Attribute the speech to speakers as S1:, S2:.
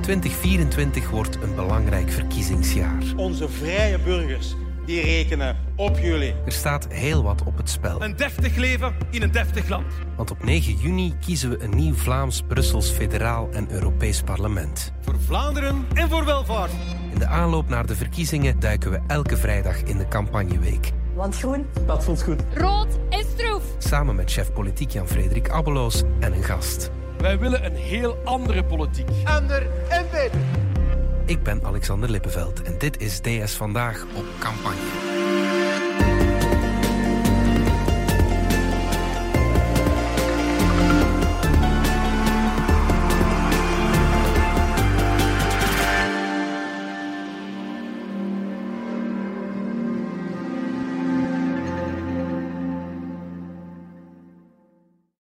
S1: 2024 wordt een belangrijk verkiezingsjaar.
S2: Onze vrije burgers die rekenen op jullie.
S1: Er staat heel wat op het spel.
S3: Een deftig leven in een deftig land.
S1: Want op 9 juni kiezen we een nieuw Vlaams, Brussels, federaal en Europees parlement.
S3: Voor Vlaanderen en voor welvaart.
S1: In de aanloop naar de verkiezingen duiken we elke vrijdag in de campagneweek.
S4: Want groen,
S5: dat voelt goed.
S6: Rood is stroef.
S1: Samen met chef politiek Jan-Frederik Abbeloos en een gast.
S7: Wij willen een heel andere politiek.
S8: Ander en beter.
S1: Ik ben Alexander Lippenveld en dit is DS Vandaag op Campagne.